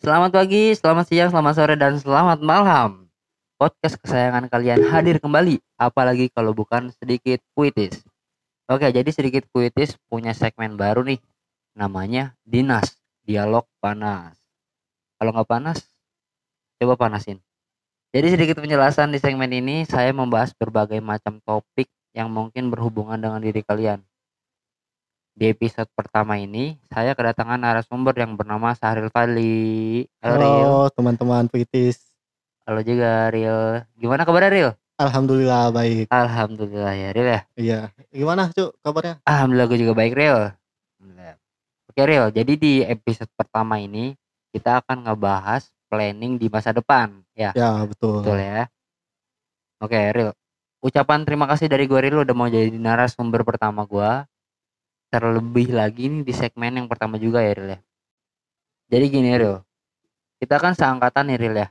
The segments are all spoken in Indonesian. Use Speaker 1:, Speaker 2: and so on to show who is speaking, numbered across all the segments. Speaker 1: Selamat pagi, selamat siang, selamat sore, dan selamat malam. Podcast kesayangan kalian hadir kembali, apalagi kalau bukan sedikit puitis. Oke, jadi sedikit puitis punya segmen baru nih, namanya Dinas Dialog Panas. Kalau nggak panas, coba panasin. Jadi sedikit penjelasan di segmen ini, saya membahas berbagai macam topik yang mungkin berhubungan dengan diri kalian. Di episode pertama ini, saya kedatangan narasumber yang bernama Sahril Fadli. Halo, Ril.
Speaker 2: Halo Oh, teman-teman puitis.
Speaker 1: Halo juga Ril. Gimana kabarnya Ril?
Speaker 2: Alhamdulillah baik.
Speaker 1: Alhamdulillah ya Ril ya.
Speaker 2: Iya. Gimana Cuk kabarnya?
Speaker 1: Alhamdulillah gue juga baik Ril. Alhamdulillah. Oke Ril, jadi di episode pertama ini kita akan ngebahas planning di masa depan. Ya,
Speaker 2: Ya betul.
Speaker 1: betul ya. Oke Ril, ucapan terima kasih dari gue Ril udah mau jadi narasumber pertama gue. Terlebih lagi nih di segmen yang pertama juga ya Ril ya. Jadi gini Ril, kita kan seangkatan nih Ril ya.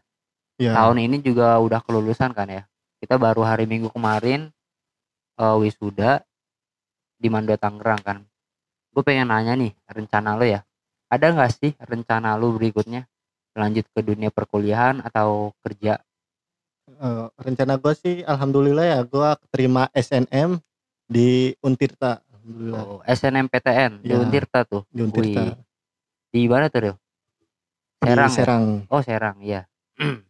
Speaker 2: Iya.
Speaker 1: tahun ini juga udah kelulusan kan ya kita baru hari minggu kemarin eh, wisuda di Mando Tangerang kan gue pengen nanya nih rencana lo ya ada nggak sih rencana lo berikutnya lanjut ke dunia perkuliahan atau kerja
Speaker 2: Eh, rencana gue sih alhamdulillah ya gue terima SNM di Untirta. Alhamdulillah
Speaker 1: Oh, SNMPTN di
Speaker 2: Iya.
Speaker 1: Untirta tuh
Speaker 2: di
Speaker 1: Oh, Wih.
Speaker 2: Untirta.
Speaker 1: di mana tuh Ril?
Speaker 2: Di
Speaker 1: Serang, ya?
Speaker 2: Serang.
Speaker 1: oh Serang ya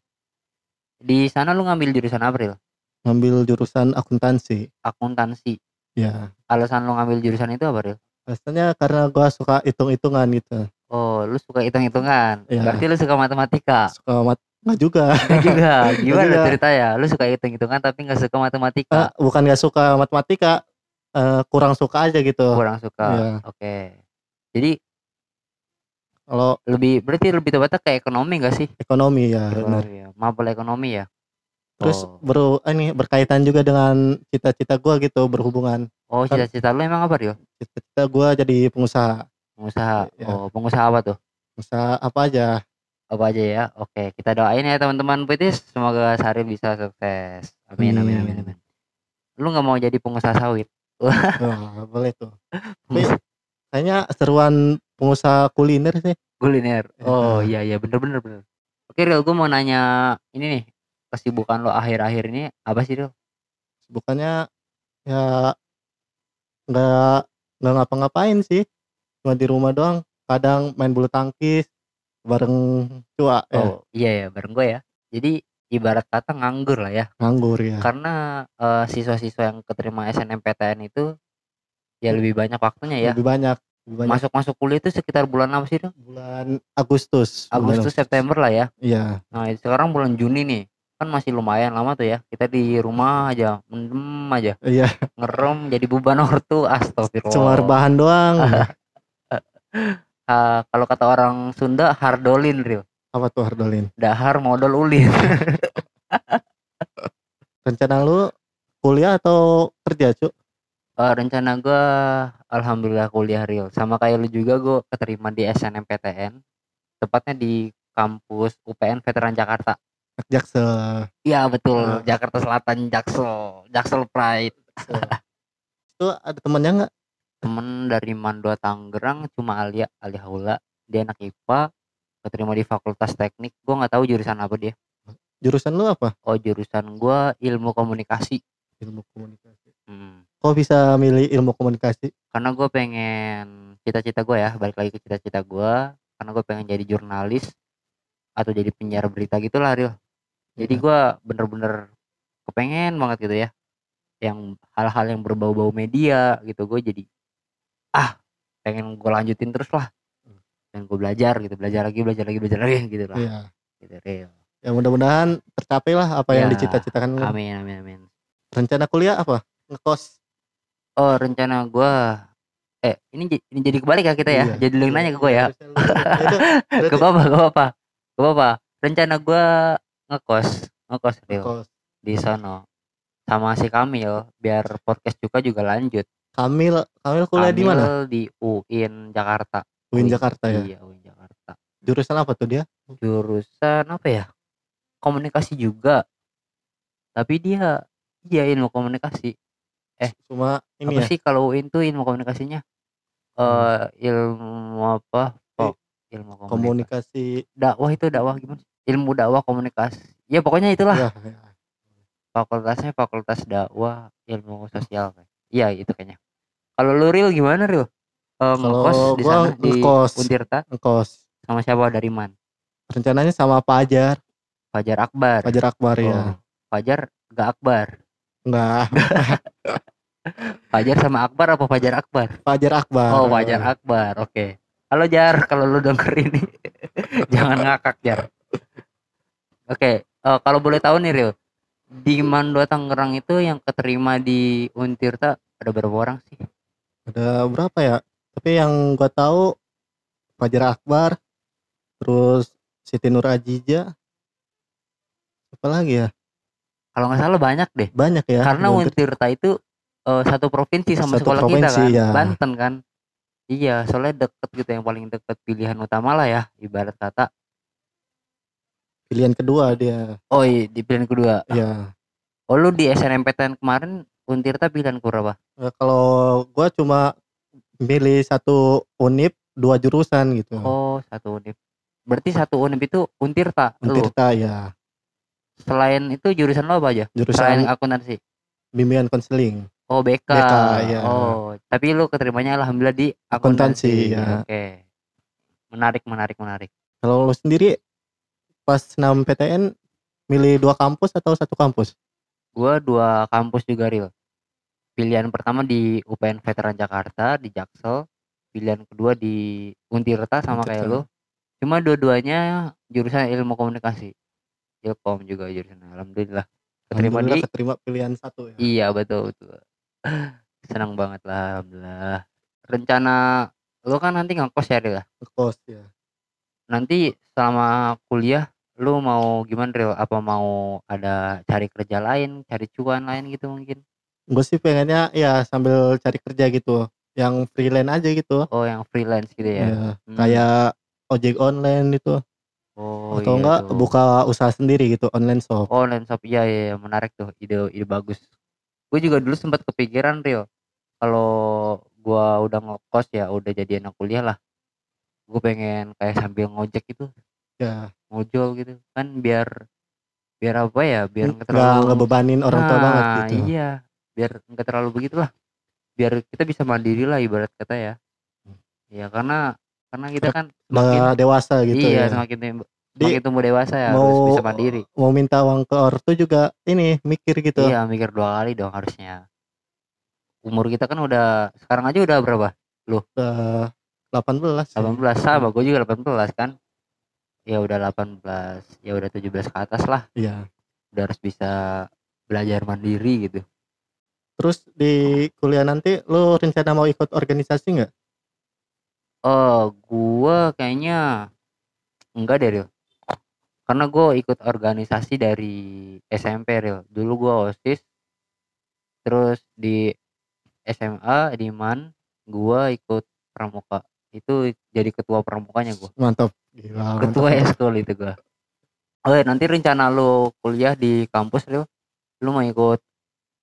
Speaker 1: di sana lu ngambil jurusan apa Ril?
Speaker 2: Ngambil jurusan akuntansi.
Speaker 1: akuntansi
Speaker 2: Ya.
Speaker 1: alasan lu ngambil jurusan itu apa Ril?
Speaker 2: Pastinya karena gue suka hitung-hitungan gitu.
Speaker 1: Oh, lu suka hitung-hitungan.
Speaker 2: Iya.
Speaker 1: Berarti lu suka matematika.
Speaker 2: Suka mat nggak juga.
Speaker 1: Nggak juga. Gimana
Speaker 2: juga.
Speaker 1: cerita ya? Lu suka hitung-hitungan tapi nggak suka matematika.
Speaker 2: Ah, bukan nggak suka matematika. eh, kurang suka aja gitu.
Speaker 1: Kurang suka.
Speaker 2: Iya.
Speaker 1: Oke. Jadi
Speaker 2: Kalau
Speaker 1: lebih berarti lebih tepatnya ke ekonomi nggak sih?
Speaker 2: ekonomi ya benar.
Speaker 1: Ekonomi ya. Mapel ekonomi ya.
Speaker 2: Terus
Speaker 1: Oh.
Speaker 2: baru eh, ini berkaitan juga dengan cita-cita gue gitu berhubungan
Speaker 1: Oh,
Speaker 2: kan
Speaker 1: cita-cita lu emang apa, Rio?
Speaker 2: cita-cita gue jadi pengusaha
Speaker 1: Pengusaha.
Speaker 2: Iya.
Speaker 1: Oh, pengusaha apa tuh?
Speaker 2: pengusaha apa aja
Speaker 1: Apa aja ya? Oke, kita doain ya teman-teman Puitis. Semoga Sari bisa sukses. Amin, amin, amin, amin.
Speaker 2: Amin.
Speaker 1: Lu nggak mau jadi pengusaha sawit?
Speaker 2: Wah, boleh tuh Tapi- kayaknya seruan pengusaha kuliner sih
Speaker 1: kuliner oh iya iya
Speaker 2: Iya.
Speaker 1: bener bener bener oke Ril gue mau nanya ini nih kesibukan lo akhir-akhir ini apa sih Ril
Speaker 2: bukannya ya nggak nggak ngapa-ngapain sih cuma di rumah doang kadang main bulu tangkis bareng cua ya,
Speaker 1: oh iya ya bareng gue ya jadi ibarat kata nganggur lah ya
Speaker 2: nganggur ya
Speaker 1: karena eh, siswa-siswa yang keterima SNMPTN itu ya lebih banyak waktunya ya
Speaker 2: lebih banyak lebih banyak
Speaker 1: masuk masuk kuliah itu sekitar bulan apa sih Ril
Speaker 2: bulan Agustus bulan
Speaker 1: Agustus September lah ya
Speaker 2: iya
Speaker 1: nah sekarang bulan Juni nih kan masih lumayan lama tuh ya kita di rumah aja mendem aja
Speaker 2: iya
Speaker 1: ngerem jadi beban ortu astagfirullah
Speaker 2: cuma rebahan doang
Speaker 1: Ah, kalau kata orang Sunda hardolin Ril
Speaker 2: apa tuh Hardolin
Speaker 1: dahar modal ulin
Speaker 2: rencana lu kuliah atau kerja cu
Speaker 1: Eh, rencana gua alhamdulillah kuliah Ril sama kayak lu juga gue keterima di SNMPTN tepatnya di kampus UPN Veteran Jakarta
Speaker 2: Jaksel
Speaker 1: iya betul
Speaker 2: Ah.
Speaker 1: Jakarta Selatan Jaksel Jaksel Pride
Speaker 2: itu ada temannya nggak
Speaker 1: temen dari Mandua Tangerang cuma Alia Alia Haula dia anak IPA keterima di Fakultas Teknik gua nggak tahu jurusan apa dia
Speaker 2: jurusan lu apa
Speaker 1: oh jurusan gua ilmu komunikasi
Speaker 2: ilmu komunikasi
Speaker 1: hmm.
Speaker 2: kok bisa milih ilmu komunikasi
Speaker 1: karena gue pengen cita-cita gue ya balik lagi ke cita-cita gue karena gue pengen jadi jurnalis atau jadi penyiar berita gitu lah Ril jadi
Speaker 2: Iya.
Speaker 1: gue bener-bener kepengen banget gitu ya yang hal-hal yang berbau-bau media gitu gue jadi ah pengen gue lanjutin terus lah dan gue belajar gitu belajar lagi belajar lagi belajar lagi gitu lah
Speaker 2: Hmm. iya
Speaker 1: gitu Ril
Speaker 2: ya mudah-mudahan tercapai lah apa yang
Speaker 1: Ya.
Speaker 2: dicita-citakan lu.
Speaker 1: amin amin amin
Speaker 2: rencana kuliah apa ngekos
Speaker 1: oh rencana gue eh ini j- ini jadi kebalik ya kita ya
Speaker 2: Iya.
Speaker 1: jadi lu yang nanya ke gue ya
Speaker 2: Harusnya lu- itu
Speaker 1: gak apa-apa,
Speaker 2: berarti
Speaker 1: gak apa-apa. Gak apa-apa. Rencana gua ngekos, ngekos Ril,
Speaker 2: ngekos
Speaker 1: di sono sama si Kamil biar podcast juga juga lanjut.
Speaker 2: Kamil Kamil kuliah di mana
Speaker 1: Kamil Di UIN Jakarta.
Speaker 2: UIN Jakarta ya
Speaker 1: Iya, UIN Jakarta.
Speaker 2: jurusan apa tuh dia
Speaker 1: Jurusan apa ya? Komunikasi juga. Tapi dia iya ilmu komunikasi. Eh,
Speaker 2: cuma ini
Speaker 1: apa
Speaker 2: ya
Speaker 1: sih kalau UIN tuh ilmu komunikasinya? Eh, ilmu apa? Kok ilmu komunikasi. Komunikasi.
Speaker 2: komunikasi
Speaker 1: Dakwah itu dakwah gimana? Ilmu dakwah komunikasi. Ya pokoknya itulah
Speaker 2: ya, ya.
Speaker 1: fakultasnya fakultas dakwah ilmu sosial. Iya gitu kayaknya. Kalau lu real gimana real?
Speaker 2: kalau
Speaker 1: di
Speaker 2: gua
Speaker 1: sana di
Speaker 2: ngekos
Speaker 1: Untirta
Speaker 2: ngekos
Speaker 1: sama siapa dari man?
Speaker 2: rencananya sama Fajar
Speaker 1: Fajar Akbar.
Speaker 2: Fajar Akbar ya
Speaker 1: Oh, Fajar gak Akbar.
Speaker 2: nah
Speaker 1: Fajar sama Akbar apa Fajar Akbar?
Speaker 2: Fajar Akbar
Speaker 1: Oh, Fajar Akbar. Oke. Halo Jar, kalau lu denger ini jangan ngakak Jar. Oke, eh, kalau boleh tahu nih Rio, di Mandua Tangerang itu yang keterima di Untirta ada berapa orang sih?
Speaker 2: ada berapa ya tapi yang gua tahu Fajar Akbar terus Siti Nur Ajija apa lagi ya
Speaker 1: Kalau nggak salah banyak deh.
Speaker 2: banyak ya
Speaker 1: Karena
Speaker 2: Belum ter-
Speaker 1: Untirta itu eh, satu provinsi sama
Speaker 2: Satu
Speaker 1: sekolah kita
Speaker 2: provinsi,
Speaker 1: kan,
Speaker 2: ya.
Speaker 1: Banten kan. Iya, soalnya deket gitu yang paling deket pilihan utama lah ya, ibarat kata.
Speaker 2: pilihan kedua dia
Speaker 1: Oh, iya, di pilihan kedua.
Speaker 2: ya
Speaker 1: Oh, lu di SNMPTN kemarin Untirta pilihan berapa?
Speaker 2: Nah, kalau gua cuma milih satu unip dua jurusan gitu
Speaker 1: Oh, satu unip. Berarti satu unip itu Untirta. Lu.
Speaker 2: Untirta ya
Speaker 1: Selain itu jurusan lo apa aja? Selain
Speaker 2: jurusan
Speaker 1: akuntansi.
Speaker 2: bimbingan konseling
Speaker 1: Oh, BK.
Speaker 2: BK, ya.
Speaker 1: Oh, tapi lu keterimanya alhamdulillah di akuntansi.
Speaker 2: Akuntansi, ya.
Speaker 1: Oke. Menarik, menarik, menarik.
Speaker 2: Kalau lo sendiri pas 6 PTN milih dua kampus atau satu kampus?
Speaker 1: Gua dua kampus juga real. Pilihan pertama di UPN Veteran Jakarta di Jaksel. Pilihan kedua di Untirta sama kayak lu.
Speaker 2: Untirta.
Speaker 1: Cuma dua-duanya jurusan ilmu komunikasi. Ilkom juga jurusan. Alhamdulillah. Keterima
Speaker 2: Alhamdulillah
Speaker 1: di
Speaker 2: keterima pilihan satu ya.
Speaker 1: Iya betul betul. Senang banget lah alhamdulillah. Rencana lu kan nanti ngekos ya Ril. ya?
Speaker 2: Kos ya.
Speaker 1: Nanti selama kuliah lu mau gimana Ril? Apa mau ada cari kerja lain, cari cuan lain gitu mungkin?
Speaker 2: Gue sih pengennya ya sambil cari kerja gitu, yang freelance aja gitu.
Speaker 1: Oh yang freelance gitu
Speaker 2: Ya,
Speaker 1: ya? Hmm.
Speaker 2: kayak ojek online gitu
Speaker 1: oh,
Speaker 2: atau
Speaker 1: iya
Speaker 2: enggak
Speaker 1: tuh.
Speaker 2: buka usaha sendiri gitu online shop.
Speaker 1: Oh land shop iya iya iya, menarik tuh ide ide bagus. Gue juga dulu sempat kepikiran Rio kalau gua udah ngekos ya udah jadi anak kuliah lah. Gue pengen kayak sambil ngojek gitu
Speaker 2: Ya,
Speaker 1: ngojol gitu kan biar biar apa ya biar nggak
Speaker 2: enggak
Speaker 1: terlalu
Speaker 2: ngebebanin orang tua
Speaker 1: Nah,
Speaker 2: banget gitu.
Speaker 1: iya biar nggak terlalu begitulah biar kita bisa mandiri lah ibarat kata ya
Speaker 2: Hmm.
Speaker 1: ya karena karena kita kan
Speaker 2: Nggak
Speaker 1: semakin
Speaker 2: dewasa gitu
Speaker 1: iya
Speaker 2: ya.
Speaker 1: semakin tim-
Speaker 2: Di-
Speaker 1: semakin tumbuh dewasa ya harus
Speaker 2: Mau
Speaker 1: bisa mandiri
Speaker 2: mau minta uang ke ortu juga ini mikir gitu.
Speaker 1: iya mikir dua kali dong harusnya umur kita kan udah sekarang aja udah berapa
Speaker 2: Hmm. Eh, 18. ya.
Speaker 1: 18 sama gue juga 18 kan ya udah 18 ya udah 17 ke atas lah
Speaker 2: Iya.
Speaker 1: udah harus bisa belajar mandiri gitu
Speaker 2: Terus di kuliah nanti lo rencana mau ikut organisasi nggak?
Speaker 1: Oh, gua kayaknya enggak deh, Ril. Karena gua ikut organisasi dari SMP, Ril. Dulu gua OSIS. Terus di SMA di MAN gua ikut pramuka. Itu jadi ketua pramukanya gua.
Speaker 2: Mantap. Gila.
Speaker 1: Ketua
Speaker 2: mantap.
Speaker 1: eskul itu gua. Oke, nanti rencana lu kuliah di kampus, Ril. Lu mau ikut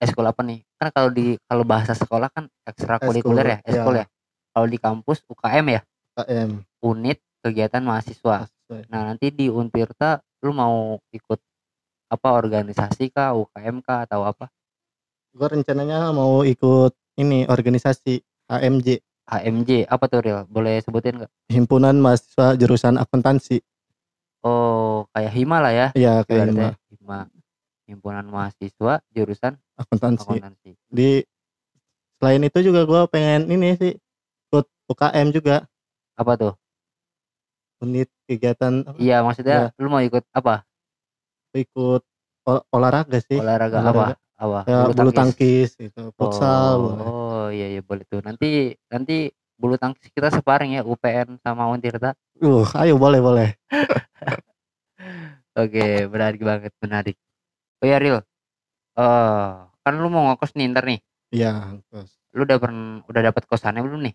Speaker 1: eskul apa nih? Kan kalau di kalau bahasa sekolah kan ekstrakurikuler ya,
Speaker 2: Ekskul,
Speaker 1: eskul
Speaker 2: iya.
Speaker 1: ya. Kalau di kampus UKM ya
Speaker 2: KM.
Speaker 1: unit kegiatan mahasiswa. Nah, nanti di Untirta lu mau ikut apa organisasi kah, UKM kah atau apa?
Speaker 2: Gue rencananya mau ikut ini organisasi HMJ
Speaker 1: HMJ apa tuh Ril? Boleh sebutin nggak?
Speaker 2: Himpunan Mahasiswa Jurusan Akuntansi.
Speaker 1: Oh, kayak Hima lah ya.
Speaker 2: Iya kayak
Speaker 1: ibaratnya.
Speaker 2: gitu.
Speaker 1: Hima. Himpunan mahasiswa jurusan
Speaker 2: Akuntansi.
Speaker 1: akuntansi.
Speaker 2: Di selain itu juga gue pengen ini sih ikut UKM juga
Speaker 1: Apa tuh?
Speaker 2: unit kegiatan
Speaker 1: Iya, maksudnya lu mau ikut apa?
Speaker 2: ikut ol- olahraga sih.
Speaker 1: Olahraga,
Speaker 2: olahraga.
Speaker 1: apa? Apa?
Speaker 2: Ya, bulu tangkis, gitu, futsal.
Speaker 1: Oh,
Speaker 2: boleh.
Speaker 1: oh, iya iya boleh tuh. Nanti nanti bulu tangkis kita separing ya UPN sama Untirta.
Speaker 2: Uh, ayo boleh boleh.
Speaker 1: Oke, menarik banget, menarik. Oh ya, Ril. Eh, kan lu mau ngekos nih ntar nih.
Speaker 2: Iya, terus.
Speaker 1: Lu udah pern- udah dapat kosannya belum nih?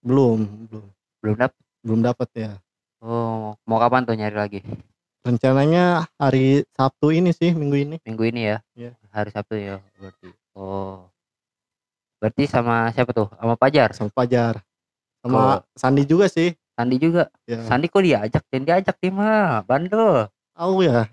Speaker 2: belum belum
Speaker 1: Belum dapet.
Speaker 2: belum dapat ya.
Speaker 1: Oh, mau kapan tuh nyari lagi?
Speaker 2: rencananya hari Sabtu ini sih minggu ini
Speaker 1: Minggu ini ya?
Speaker 2: Iya.
Speaker 1: Hari Sabtu ya, berarti. Oh. Berarti sama siapa tuh? Sama Pajar.
Speaker 2: sama Fajar sama Sandi juga sih
Speaker 1: Sandi juga.
Speaker 2: Ya.
Speaker 1: Sandi kok diajak dan diajak dia mah bandel.
Speaker 2: tahu ya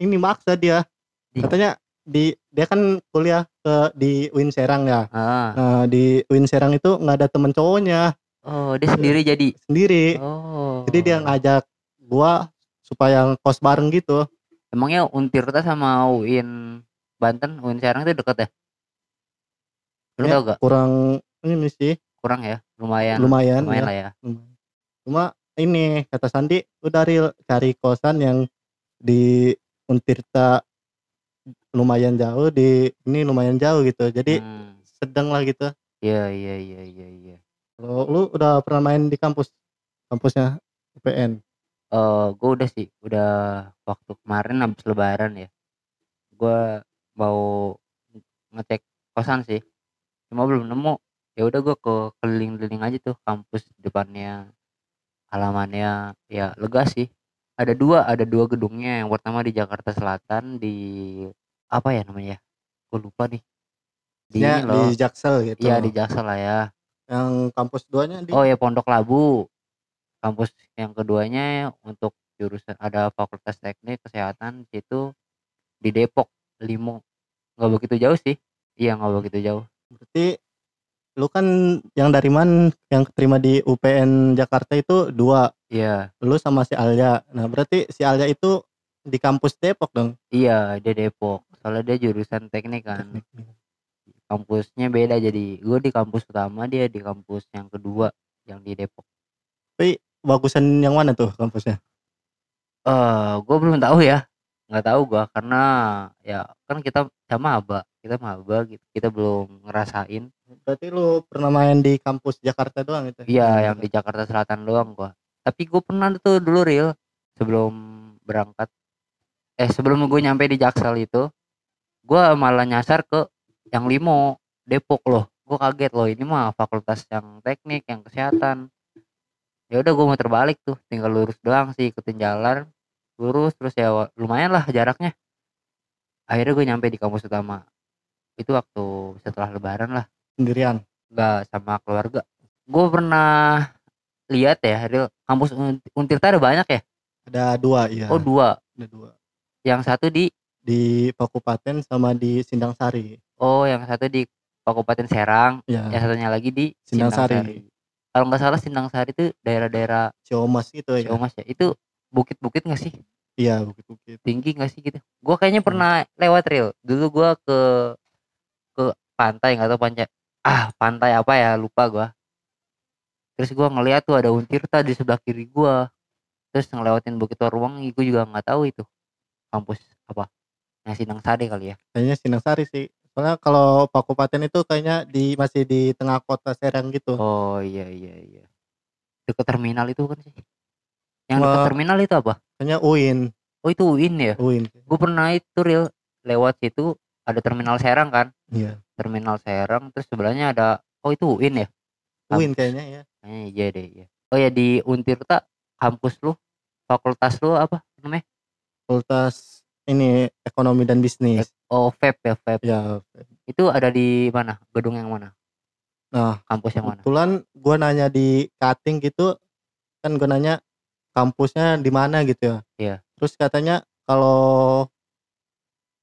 Speaker 2: ini maksa dia
Speaker 1: Di-
Speaker 2: katanya di dia kan kuliah ke di Win Serang ya
Speaker 1: Ah.
Speaker 2: nah, di Win Serang itu nggak ada temen cowoknya
Speaker 1: Oh, dia sendiri jadi.
Speaker 2: sendiri
Speaker 1: Oh.
Speaker 2: Iya. jadi dia ngajak gua supaya kos bareng gitu
Speaker 1: Emangnya Untirta sama UIN Banten, UIN Serang itu deket ya? Lu
Speaker 2: Ya.
Speaker 1: tau gak?
Speaker 2: kurang ini sih
Speaker 1: Kurang ya? Lumayan.
Speaker 2: lumayan,
Speaker 1: Lumayan
Speaker 2: ya.
Speaker 1: lah ya.
Speaker 2: Lumayan. cuma ini kata Sandi udah Ril cari kosan yang di Untirta lumayan jauh di ini lumayan jauh gitu jadi
Speaker 1: Hmm.
Speaker 2: sedang lah gitu
Speaker 1: Iya, iya, iya, iya, iya.
Speaker 2: Kalau lu udah pernah main di kampus? Kampusnya UPN.
Speaker 1: Eh, gue udah sih, udah waktu kemarin habis lebaran ya. Gue mau ngecek kosan sih. Cuma belum nemu. Ya udah gue ke keliling-keliling aja tuh kampus depannya halamannya ya lega sih. Ada dua, ada dua gedungnya. Yang pertama di Jakarta Selatan di apa ya namanya? Gue lupa nih. Di ini
Speaker 2: ya,
Speaker 1: loh.
Speaker 2: di Jaksel gitu.
Speaker 1: Iya, di Jaksel lah ya.
Speaker 2: Yang kampus duanya di
Speaker 1: Oh ya Pondok Labu. Kampus yang keduanya untuk jurusan ada Fakultas Teknik Kesehatan di situ di Depok Limo. Nggak begitu jauh sih. Iya nggak begitu jauh.
Speaker 2: berarti lu kan yang dari man yang keterima di UPN Jakarta itu dua,
Speaker 1: Iya,
Speaker 2: lu sama si Alya. Nah, berarti si Alya itu di kampus Depok dong.
Speaker 1: iya dia Depok. Soalnya dia jurusan teknik kan. Kampusnya beda jadi gue di kampus utama dia di kampus yang kedua yang di Depok.
Speaker 2: Bagusan yang mana tuh kampusnya?
Speaker 1: Eh, gue belum tahu ya. Nggak tahu gua karena ya kan kita sama aba, kita maba gitu. Kita belum ngerasain
Speaker 2: Berarti lu pernah main di kampus Jakarta doang itu?
Speaker 1: Iya, yang di Jakarta Selatan doang gua. Tapi gue pernah tuh dulu real sebelum berangkat. Eh sebelum gue nyampe di Jaksel itu, gua malah nyasar ke yang limo Depok loh. Gue kaget loh ini mah fakultas yang teknik, yang kesehatan. Ya udah gue mau terbalik tuh, tinggal lurus doang sih ikutin jalan, lurus terus ya wa- lumayan lah jaraknya. Akhirnya gue nyampe di kampus utama. Itu waktu setelah Lebaran lah
Speaker 2: sendirian.
Speaker 1: nggak sama keluarga. Gue pernah lihat ya, Ril, kampus Un- Untirta ada banyak ya?
Speaker 2: Ada dua, iya.
Speaker 1: Oh dua,
Speaker 2: ada dua.
Speaker 1: yang satu di
Speaker 2: Di Pakupaten sama di Sindang Sari.
Speaker 1: oh yang satu di Kabupaten Serang,
Speaker 2: Ya,
Speaker 1: yang satunya lagi di
Speaker 2: Sindang Sari.
Speaker 1: Kalau nggak salah Sindang Sari itu daerah-daerah
Speaker 2: Ciomas gitu ya.
Speaker 1: Ciamas ya. Itu bukit-bukit nggak sih?
Speaker 2: Iya, bukit-bukit.
Speaker 1: Tinggi nggak sih gitu? Gue kayaknya pernah lewat Ril. Dulu gue ke ke pantai nggak tahu pantai ah pantai apa ya lupa gue. Terus gue ngeliat tuh ada Untirta di sebelah kiri gue. terus ngelewatin Bukit Warwangi gue juga nggak tahu itu kampus apa yang Sinang Sari kali ya
Speaker 2: kayaknya Sindang Sari sih soalnya kalau Pakupaten itu kayaknya di masih di tengah kota Serang gitu
Speaker 1: oh iya iya iya dekat terminal itu kan sih yang dekat
Speaker 2: Wah.
Speaker 1: terminal itu apa
Speaker 2: kayaknya UIN
Speaker 1: oh itu UIN ya
Speaker 2: UIN Iya,
Speaker 1: gue pernah itu real lewat situ ada terminal Serang kan
Speaker 2: iya
Speaker 1: terminal Serang terus sebelahnya ada oh itu UIN ya
Speaker 2: UIN kayaknya ya
Speaker 1: Kayaknya iya deh iya oh ya di Untirta kampus lu fakultas lu apa namanya
Speaker 2: fakultas ini ekonomi dan bisnis
Speaker 1: oh FEB ya FEB
Speaker 2: ya
Speaker 1: itu ada di mana gedung yang mana
Speaker 2: Nah,
Speaker 1: kampus yang mana
Speaker 2: kebetulan gua nanya di cutting gitu kan gua nanya kampusnya di mana gitu ya
Speaker 1: Iya.
Speaker 2: terus katanya kalau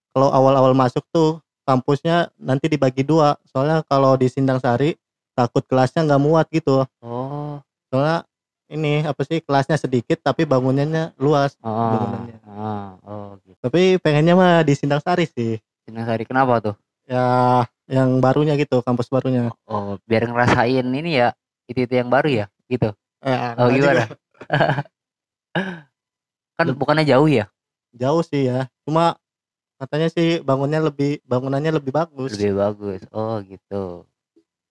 Speaker 2: kalau awal-awal masuk tuh kampusnya nanti dibagi dua soalnya kalau di Sindang Sari takut kelasnya nggak muat gitu
Speaker 1: oh
Speaker 2: soalnya ini apa sih kelasnya sedikit tapi bangunannya luas
Speaker 1: Oh,
Speaker 2: bangunannya.
Speaker 1: oh, oh gitu.
Speaker 2: tapi pengennya mah di Sindang Sari sih
Speaker 1: Sinasari kenapa tuh?
Speaker 2: ya yang barunya gitu kampus barunya
Speaker 1: Oh, biar ngerasain ini ya, itu itu yang baru ya, gitu.
Speaker 2: Eh,
Speaker 1: Oh
Speaker 2: enggak
Speaker 1: gimana?
Speaker 2: juga.
Speaker 1: kan bukannya jauh ya,
Speaker 2: jauh sih ya cuma katanya sih bangunnya lebih bangunannya lebih bagus
Speaker 1: lebih bagus. Oh gitu.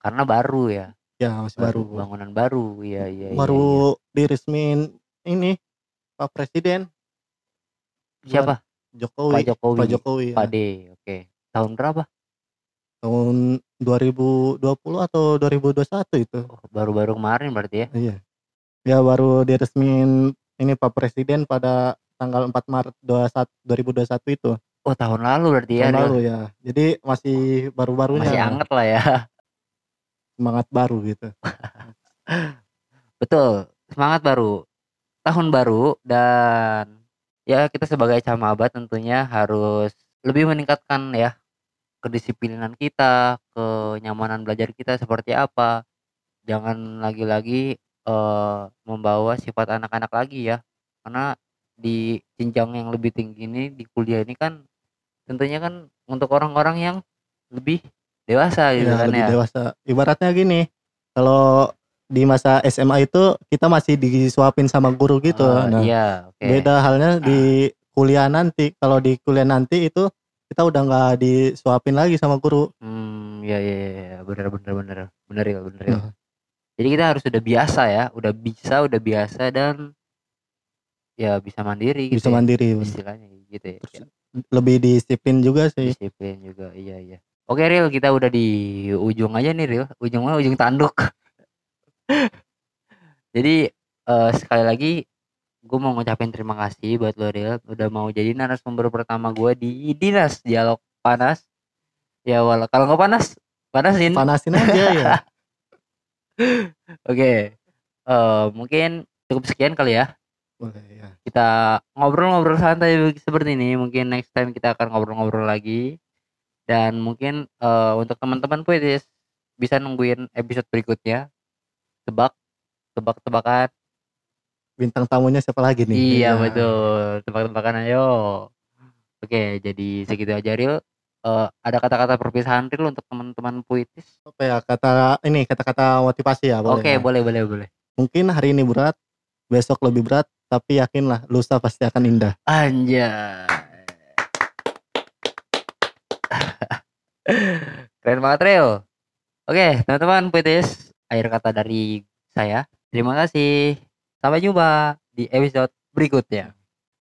Speaker 1: Karena baru ya,
Speaker 2: ya masih baru baru,
Speaker 1: bangunan baru, ya ya.
Speaker 2: diresmin ini Pak Presiden
Speaker 1: Siapa?
Speaker 2: Jokowi
Speaker 1: Pak Jokowi.
Speaker 2: Pak Jokowi ya.
Speaker 1: Pak D. Oke. Tahun berapa?
Speaker 2: tahun 2020 atau 2021 itu
Speaker 1: Oh, baru-baru kemarin berarti ya.
Speaker 2: Iya. Ya baru diresmin ini Pak Presiden pada tanggal 4 Maret 21 2021 itu
Speaker 1: Oh, tahun lalu berarti ya.
Speaker 2: tahun
Speaker 1: Ril.
Speaker 2: lalu iya. ya. Jadi masih baru-barunya
Speaker 1: Masih anget lah ya.
Speaker 2: semangat baru gitu.
Speaker 1: Betul. semangat baru tahun baru dan ya kita sebagai camaba tentunya harus lebih meningkatkan ya kedisiplinan kita kenyamanan belajar kita seperti apa jangan lagi-lagi eh, membawa sifat anak-anak lagi ya karena di jenjang yang lebih tinggi ini di kuliah ini kan tentunya kan untuk orang-orang yang lebih dewasa gitu
Speaker 2: Ya,
Speaker 1: kan
Speaker 2: lebih
Speaker 1: ya
Speaker 2: dewasa. Ibaratnya gini, kalau di masa SMA itu kita masih disuapin sama guru gitu.
Speaker 1: Eh,
Speaker 2: Nah,
Speaker 1: iya oke Ah.
Speaker 2: Beda halnya di kuliah nanti. Kalau di kuliah nanti itu kita udah nggak disuapin lagi sama guru.
Speaker 1: Hmm, ya ya ya, ya, bener bener bener bener ya bener ya.
Speaker 2: Nah.
Speaker 1: Jadi kita harus udah biasa ya, udah bisa, udah biasa dan ya bisa mandiri gitu.
Speaker 2: Bisa
Speaker 1: ya,
Speaker 2: mandiri.
Speaker 1: istilahnya gitu ya.
Speaker 2: Terus Lebih disiplin juga sih.
Speaker 1: Disiplin juga. Iya iya. Oke Ril, kita udah di ujung aja nih Ril. Ujung mah ujung tanduk. Jadi eh, sekali lagi gue mau ngucapin terima kasih buat lo Ril udah mau jadi narasumber pertama gue di Dinas Dialog Panas. Ya walau kalau nggak panas, panasin.
Speaker 2: Panasin aja ya.
Speaker 1: Oke, eh, mungkin cukup sekian kali ya.
Speaker 2: Boleh, ya.
Speaker 1: Kita ngobrol-ngobrol santai be- seperti ini. Mungkin next time kita akan ngobrol-ngobrol lagi. Dan mungkin eh, untuk teman-teman puitis bisa nungguin episode berikutnya. Tebak, tebak-tebakan.
Speaker 2: Bintang tamunya siapa lagi nih?
Speaker 1: Iya
Speaker 2: Ya.
Speaker 1: betul, tebak-tebakan ayo. Oke, jadi segitu aja Ril. Eh, ada kata-kata perpisahan Ril untuk teman-teman puitis.
Speaker 2: Apa ya kata ini kata-kata motivasi ya boleh.
Speaker 1: Oke,
Speaker 2: ya?
Speaker 1: boleh boleh boleh.
Speaker 2: Mungkin hari ini berat, besok lebih berat, tapi yakinlah lusa pasti akan indah.
Speaker 1: Anjay. Keren banget Reo. Oke, teman-teman Puitis, akhir kata dari saya. Terima kasih. Sampai jumpa di episode berikutnya.